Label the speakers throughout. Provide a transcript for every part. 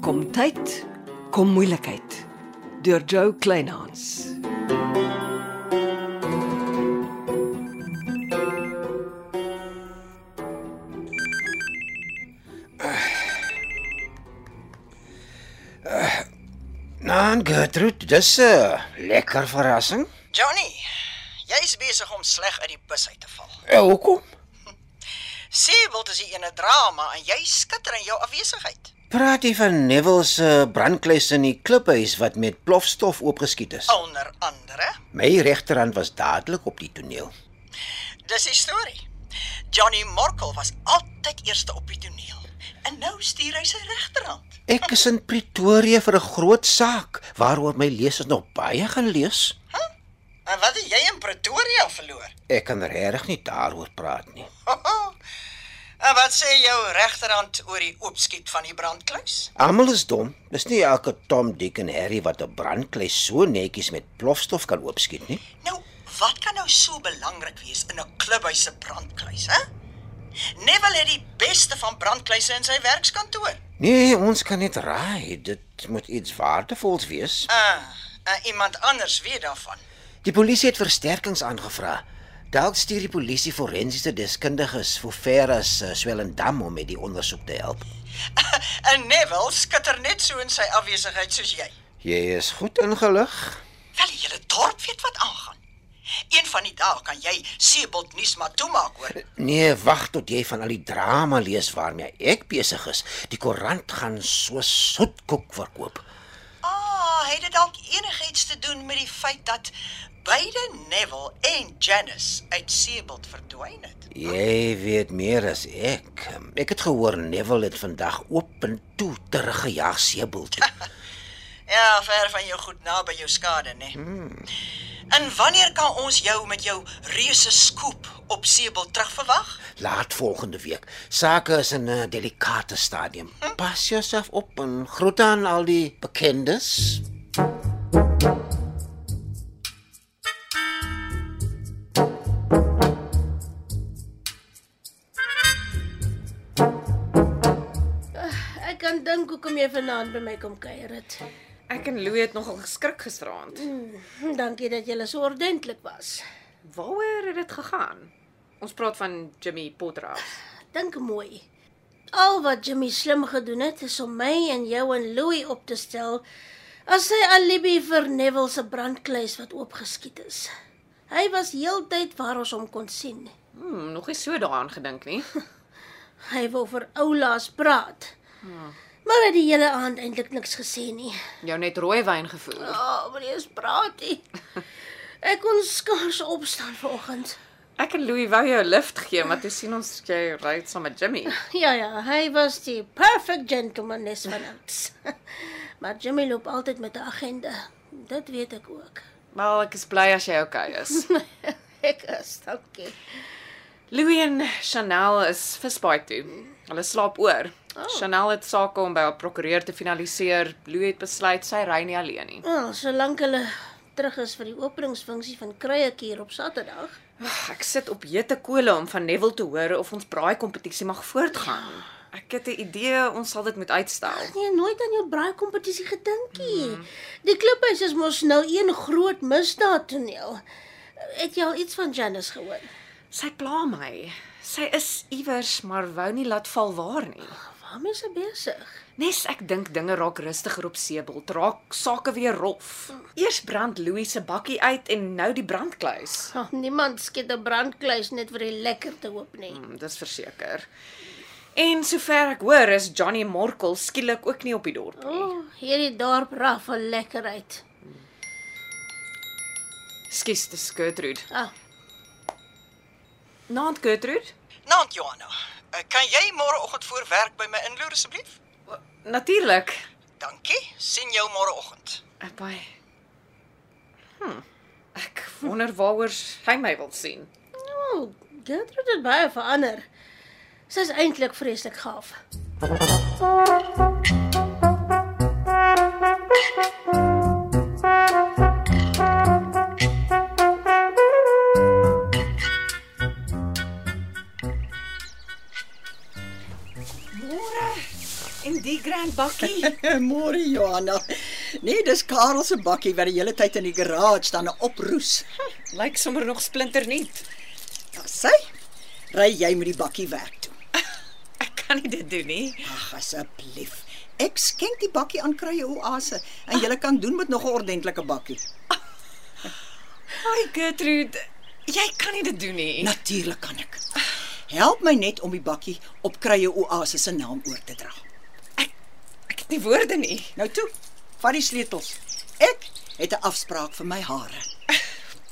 Speaker 1: Gesondheid kom moeilikheid deur Joe Kleinhans.
Speaker 2: Nan Gertrude, dis 'n lekker verrassing.
Speaker 3: Johnny, jy's besig om sleg uit die bus uit te val.
Speaker 2: Eh, hoekom?
Speaker 3: Sê wil dis 'n ene drama en jy skitter in jou afwesigheid.
Speaker 2: Praat jy van Neville se brandkluis in die kliphuis wat met plofstof oopgeskiet is?
Speaker 3: Onder andere,
Speaker 2: My regterhand was dadelik op die toneel.
Speaker 3: dis die storie. Johnny Morkel was altyd eerste op die toneel en nou stuur hy sy regterhand.
Speaker 2: Ek is in Pretoria vir 'n groot saak waaroor my lesers nog baie gaan lees.
Speaker 3: En wat het jy in Pretoria verloor?
Speaker 2: Ek kan regtig nie daaroor praat nie.
Speaker 3: en wat sê jou regterhand oor die oopskiet van die brandkluis?
Speaker 2: Almal is dom. Dis nie elke Tom, Dick en Harry wat 'n brandkluis so netjies met plofstof kan oopskiet nie.
Speaker 3: Nou, wat kan nou so belangrik wees in 'n klubhuis se brandkluis, hè? Neville het die beste van brandkluise in sy werkskantoor.
Speaker 2: Nee, ons kan net raai. Dit moet iets waardevols wees.
Speaker 3: Ah, uh, iemand anders weet daarvan.
Speaker 2: Die polisie het versterkings aangevra. Dalk stuur die polisie forensiese deskundiges vir Ferras uh, Swellendam om met die ondersoek te help.
Speaker 3: en Neville skitter net so in sy afwesigheid soos jy.
Speaker 2: Jy is goed ingelig.
Speaker 3: Wel, die hele dorp weet wat aangaan. Een van die dae kan jy Sebald nuus maar toemaak hoor.
Speaker 2: Nee, wag tot jy van al die drama lees waarmee ek besig is. Die koerant gaan so soetkoek verkoop.
Speaker 3: Ah, het dit dalk enigiets te doen met die feit dat beide Neville en Janice uit Sebald verdwyn het?
Speaker 2: Jy weet meer as ek. Ek het gehoor Neville het vandag oop en toe teruggejaag Sebel toe.
Speaker 3: Ja, ver van jou goed na by jou skade, né? Hmm. En wanneer kan ons jou met jou reuse skoop op Sebald terugverwag?
Speaker 2: Laat volgende week. Sake is in 'n delikate stadium. Pas jouself op en groet aan al die bekendes.
Speaker 4: Ek kan dink hoekom jy vanaand by my kom kuier het.
Speaker 5: Ek en Louie het nogal geskrik gisteraand.
Speaker 4: Hm, Dankie dat jy so ordentlik was.
Speaker 5: Waaroor het dit gegaan? Ons praat van Jimmy Potter af.
Speaker 4: Dink mooi. Al wat Jimmy slim gedoen het is om my en jou en Louis op te stel as sy alibi vir Neville se brandkluis wat oopgeskiet is. Hy was heeltyd waar ons hom kon sien.
Speaker 5: Hmm, nog nie so daaraan gedink nie.
Speaker 4: Hy wou vir oulaas praat. Maar hy het die hele aand eintlik niks gesê nie.
Speaker 5: Jou net rooi wyn gevoer.
Speaker 4: Ja, oh, meneer Spraatie. Ek kon skaars opstaan vanoggend.
Speaker 5: Ek en Louie wou jou 'n lift gee, maar toe sien ons jy ry saam met Jimmy.
Speaker 4: Ja ja, hy was die perfect gentleman is van ons. maar Jimmy loop altyd met 'n agenda. Dit weet ek ook.
Speaker 5: Wel, ek is bly as jy okay is.
Speaker 4: ek is dankie.
Speaker 5: Louie en Chanel is visbaai toe. Hulle slaap oor. Oh. Chanel het sake om by haar prokureur te finaliseer. Louie het besluit sy ry nie alleen nie.
Speaker 4: Wel, solank hulle terug is vir die openingsfunksie van Kruiek hier op Saterdag.
Speaker 5: Ag, Ek sit op hete kole om van Neville te hoor of ons braai kompetisie mag voortgaan. Ek het 'n idee ons sal dit moet uitstel.
Speaker 4: Jy het nooit aan jou braai kompetisie gedink nie. Die kliphuis is mos nou een groot misdaad toneel. Het jy al iets van Janice gehoor?
Speaker 5: Sy pla my. Sy is iewers maar wou nie laat val waar nie.
Speaker 4: Waarmee is sy besig?
Speaker 5: Nes ek dink dinge raak rustiger op Sebelt, raak sake weer rof. Eers brand Louis se bakkie uit en nou die brandkluis.
Speaker 4: Oh, niemand skiet 'n brandkluis net vir die lekker te hoop nie.
Speaker 5: Hm, dis verseker. En sover ek hoor is Johnny Morkel skielik ook nie op die dorp nie.
Speaker 4: O, hierdie dorp raaf van lekkerheid.
Speaker 5: Skus, dis Gertrude.
Speaker 4: Ah,
Speaker 5: Naand Gertrude?
Speaker 3: Naand Johanna, eh, kan jy môreoggend voor werk by my inloer asseblief?
Speaker 5: Natuurlik.
Speaker 3: Dankie. Sien jou môreoggend.
Speaker 5: Baie. Hm. Hmm. Ek wonder waaroor hy my wil sien.
Speaker 4: oh, Gertrude het baie verander. Sy's eintlik vreeslik gaaf.
Speaker 5: En die grand bakkie?
Speaker 6: Môre Johanna. Nee, dis Karel se bakkie wat die hele tyd in die garage staan en oproes.
Speaker 5: Lyk sommer nog splinternuut.
Speaker 6: Dan sê, ry jy met die bakkie werk toe.
Speaker 5: Ek kan nie dit doen nie.
Speaker 6: Ag asseblief. Ek skenk die bakkie aan Kruie Oase en jy kan doen met nog 'n ordentlike bakkie.
Speaker 5: Ai Gertrude, jy kan nie dit doen nie.
Speaker 6: Natuurlik kan ek. Help my net om die bakkie op Kruie Oase se naam oor te dra.
Speaker 5: Ek het nie woorde nie.
Speaker 6: Nou toe, vat die sleutels. Ek het 'n afspraak vir my hare.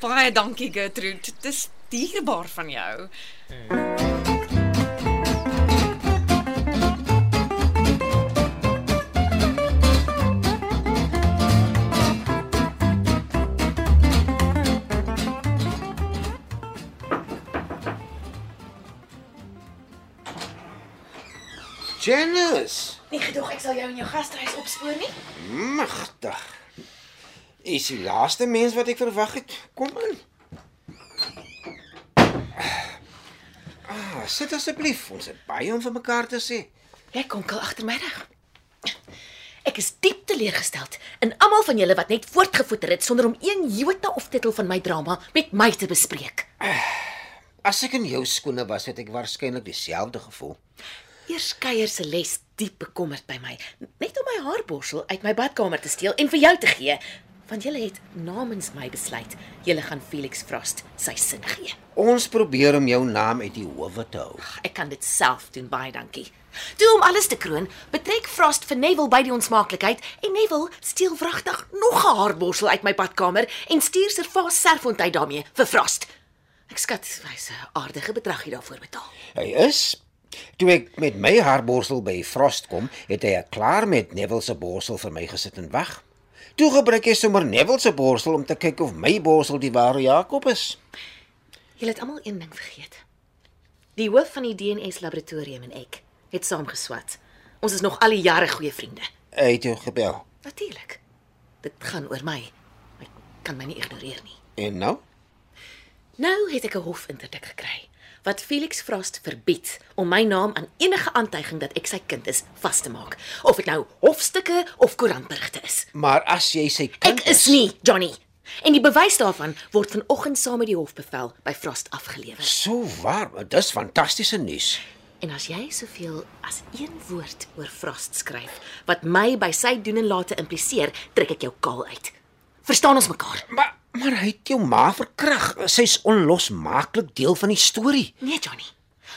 Speaker 5: Baie dankie Gertrude. Dis dierbaar van jou.
Speaker 2: Janice,
Speaker 7: Nie gedoog Nee, ek sal jou in jou gasthuis opspoor nie.
Speaker 2: magtig. Jy is die laaste mens wat ek verwag het. Kom in. Ah, sit asseblief. Ons het baie om vir mekaar te sê.
Speaker 7: Ek konkel agtermiddag. Ek is diep teleurgesteld in almal van julle wat net voortgevoeter het sonder om een jota of titel van my drama met my te bespreek.
Speaker 2: As ek in jou skoene was, het ek waarskynlik dieselfde gevoel.
Speaker 7: Eers kuier se les diep bekommerd by my, net om my haarborsel uit my badkamer te steel en vir jou te gee, want julle het namens my besluit julle gaan Felix Frost sy sin gee.
Speaker 2: Ons probeer om jou naam uit die howe te hou.
Speaker 7: Ek kan dit self doen, baie dankie. Toe om alles te kroon, betrek Frost vir Neville by die onsmaaklikheid en Neville steel wragtig nog 'n haarborsel uit my badkamer en stuur Sir Fas Serfontein daarmee vir Frost. Ek skat hy se aardige bedragie daarvoor betaal.
Speaker 2: Hy is toe ek met my haarborsel by Frost kom, het hy al klaar met Neville se borsel vir my gesit en wag. Toe gebruik hy sommer Neville se borsel om te kyk of my borsel die ware Jakob is.
Speaker 7: Julle het almal een ding vergeet. Die hoof van die DNS laboratorium en ek het saam geswat. Ons is nog al die jare goeie vriende.
Speaker 2: Hy het jou gebel.
Speaker 7: Natuurlik. Dit gaan oor my. Hy kan my nie ignoreer nie.
Speaker 2: En nou?
Speaker 7: Nou het ek 'n hofinterdik gekry wat Felix Frost verbied om my naam aan enige aantuiging dat ek sy kind is vas te maak, of dit nou hofstukke of koerantberigte is.
Speaker 2: Maar as jy sy kind
Speaker 7: Ek is nie Johnny. En die bewys daarvan word vanoggend saam met die hofbevel by Frost afgelewer.
Speaker 2: So waar, dis fantastiese nuus.
Speaker 7: En as jy soveel as een woord oor Frost skryf wat my by sy doen en late impliseer, trek ek jou kaal uit. Verstaan ons mekaar?
Speaker 2: Maar maar hy het jou ma verkrag. Sy's onlosmaaklik deel van die storie.
Speaker 7: Nee, Johnny.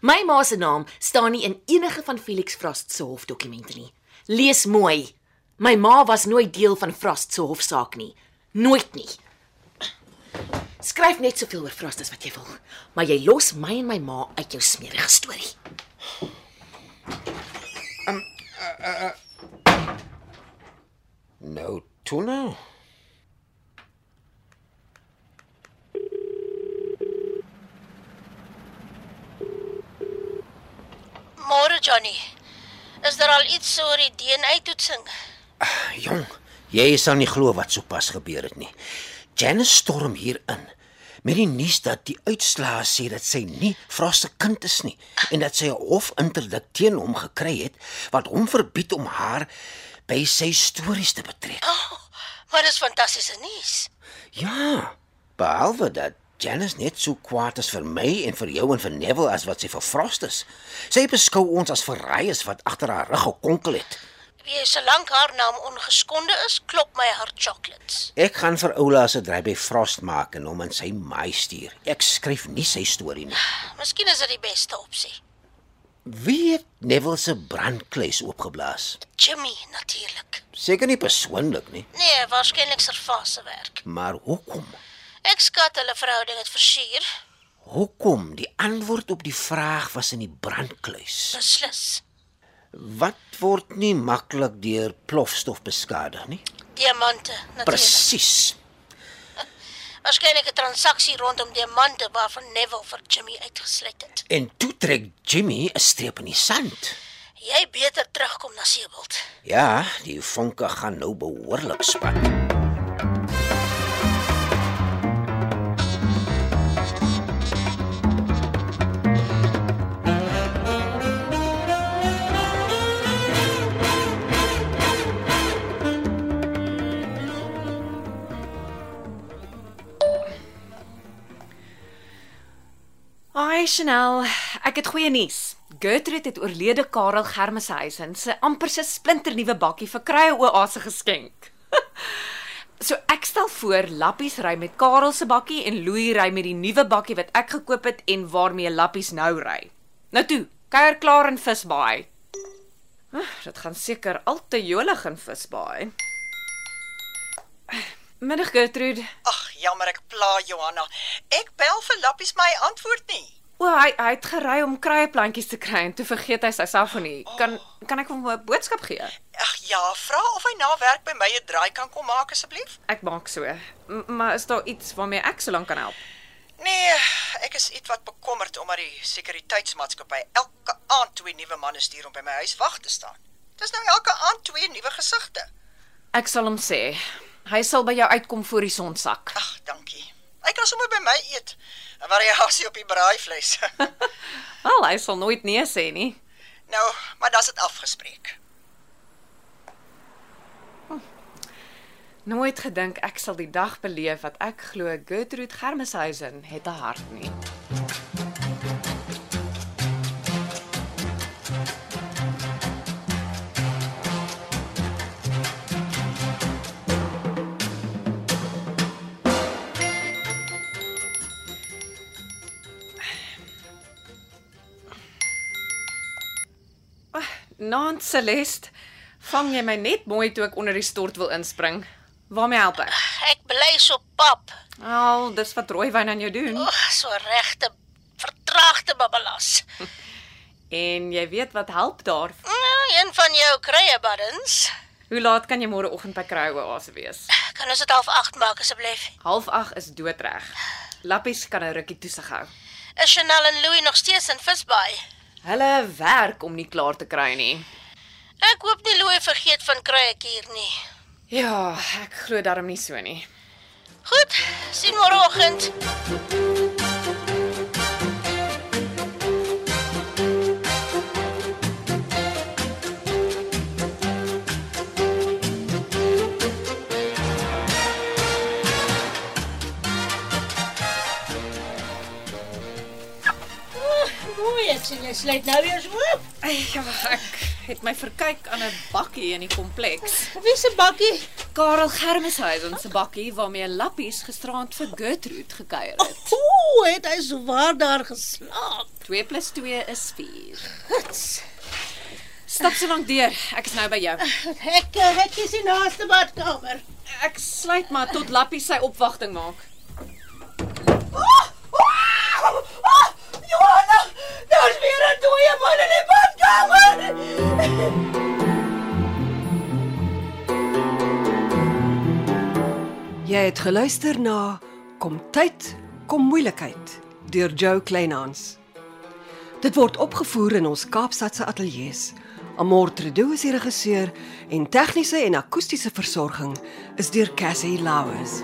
Speaker 7: My ma se naam staan nie in enige van Felix Frost se hofdokumente nie. Lees mooi. My ma was nooit deel van Frost se hofsaak nie. Nooit nie. Skryf net soveel oor Frost as wat jy wil, maar jy los my en my ma uit jou smerige storie.
Speaker 2: Nou, toe nou.
Speaker 4: Môre Johnny. Is daar al iets oor die DNA-toetsing?
Speaker 2: Jong, jy sal nie glo wat sopas gebeur het nie. Janice storm hier in met die nuus dat die uitslae sê dat sy nie Frost se kind is nie en dat sy 'n hofinterdik teen hom gekry het wat hom verbied om haar by sy stories te betrek.
Speaker 4: Maar dis fantastiese nuus.
Speaker 2: Ja, behalwe dat Janice net so kwaad is vir my en vir jou en vir Neville as wat sy vir Frost is. Sy beskou ons as verraaiers wat agter haar rug gekonkel het.
Speaker 4: Wie solank haar naam ongeskonde is, klop my hart chocolates.
Speaker 2: Ek gaan vir Oula se dryf by Frost maak en hom in sy maai stuur. Ek skryf nie sy storie nie.
Speaker 4: Miskien is dit die beste opsie.
Speaker 2: Wie het Neville se brandkluis oopgeblaas?
Speaker 4: Jimmy natuurlik.
Speaker 2: Seker nie persoonlik nie,
Speaker 4: Nee, waarskynlik Servase werk.
Speaker 2: maar hoekom?
Speaker 4: Ek skat hulle verhouding het versuur.
Speaker 2: Hoekom? Die antwoord op die vraag was in die brandkluis.
Speaker 4: Beslis.
Speaker 2: Wat word nie maklik deur plofstof beskadig nie.
Speaker 4: Diamante natuurlik.
Speaker 2: Presies.
Speaker 4: Waarskynlik 'n transaksie rondom diamante waarvan Neville vir Jimmy uitgesluit het.
Speaker 2: En toe trek Jimmy 'n streep in die sand.
Speaker 4: Jy beter terugkom na Seebald.
Speaker 2: Ja, die vonke gaan nou behoorlik spat.
Speaker 5: Ai Chanel, ek het goeie nuus. Gertrude het oorlede Karel Germeshuisen se amper se splinternuwe bakkie vir kruie oase geskenk. so ek stel voor Lappies ry met Karel se bakkie en Louis ry met die nuwe bakkie wat ek gekoop het en waarmee Lappies nou ry. Nou toe, kuier klaar in Visbaai. Ah, dit gaan seker al te jolig in Visbaai. Middag Gertrude.
Speaker 3: Ag, jammer ek pla Johanna. Ek bel vir Lappies maar hy antwoord nie.
Speaker 5: O, hy hy het gery om kruie plantjies te kry en toe vergeet hy sy selfoon. Kan kan ek hom 'n boodskap gee?
Speaker 3: Ag ja, vra of hy na werk by my 'n draai kan kom maak asseblief.
Speaker 5: Ek maak so. M maar is daar iets waarmee ek so lank kan help?
Speaker 3: Nee, ek is ietwat bekommerd omdat die sekuriteitsmaatskappy elke aand twee nuwe manne stuur om by my huis wag te staan. Dis nou elke aand twee nuwe gesigte.
Speaker 5: Ek sal hom sê. Hy sal by jou uitkom voor die son sak.
Speaker 3: Ag, dankie. Hy kan sommer by my eet. 'n Variasie op die braaivleis.
Speaker 5: Wel, hy sal nooit nee sê nie.
Speaker 3: nou, maar dis dit afgespreek.
Speaker 5: Nooit gedink ek sal die dag beleef wat ek glo Gertrude Germeshuisen het 'n hart nie. Naand Celeste, vang jy my net mooi toe ek onder die stort wil inspring. Waarmee help ek?
Speaker 8: Ek bly so pap.
Speaker 5: Al, dis wat rooiwyn aan jou doen.
Speaker 8: O, so regte vertraagde babbelas.
Speaker 5: En jy weet wat help daar.
Speaker 8: Mm, een van jou krye buttons.
Speaker 5: Hoe laat kan jy môre oggend by Krye Oase wees?
Speaker 8: Kan ons dit half 8 maak asseblief?
Speaker 5: Half 8 is doodreg. Lappies kan 'n rukkie toesig hou.
Speaker 8: Is Chanel en Louis nog steeds in Visbaai?
Speaker 5: Hulle werk om nie klaar te kry nie.
Speaker 8: Ek hoop nie Louis vergeet van kruiekier nie.
Speaker 5: Ja, ek glo daarom nie so nie.
Speaker 8: Goed, sien môreoggend.
Speaker 4: Mooi, ek sien jy sluit nou weer oop.
Speaker 5: Ja, ek het my verkyk aan 'n bakkie in die kompleks.
Speaker 4: Wie se bakkie?
Speaker 5: Karel Germeshuisen se bakkie waarmee Lappies gisteraand vir Gertrude gekuier het.
Speaker 4: Ooh, het hy so waar daar geslaap.
Speaker 5: 2 + 2 is 4. Stap so lank deur. Ek is nou by jou.
Speaker 4: Ek ek is die naaste badkamer.
Speaker 5: Ek sluit maar tot Lappie sy opwagting maak.
Speaker 3: Johanna, daar's weer 'n dooie man in die badkamer.
Speaker 1: Jy het geluister na Kom tyd, kom moeilikheid deur Jo Kleinhans. Dit word opgevoer in ons Kaapstadse ateljee se. Amortredo is die regisseur en tegniese en akoestiese versorging is deur Cassie Lauers.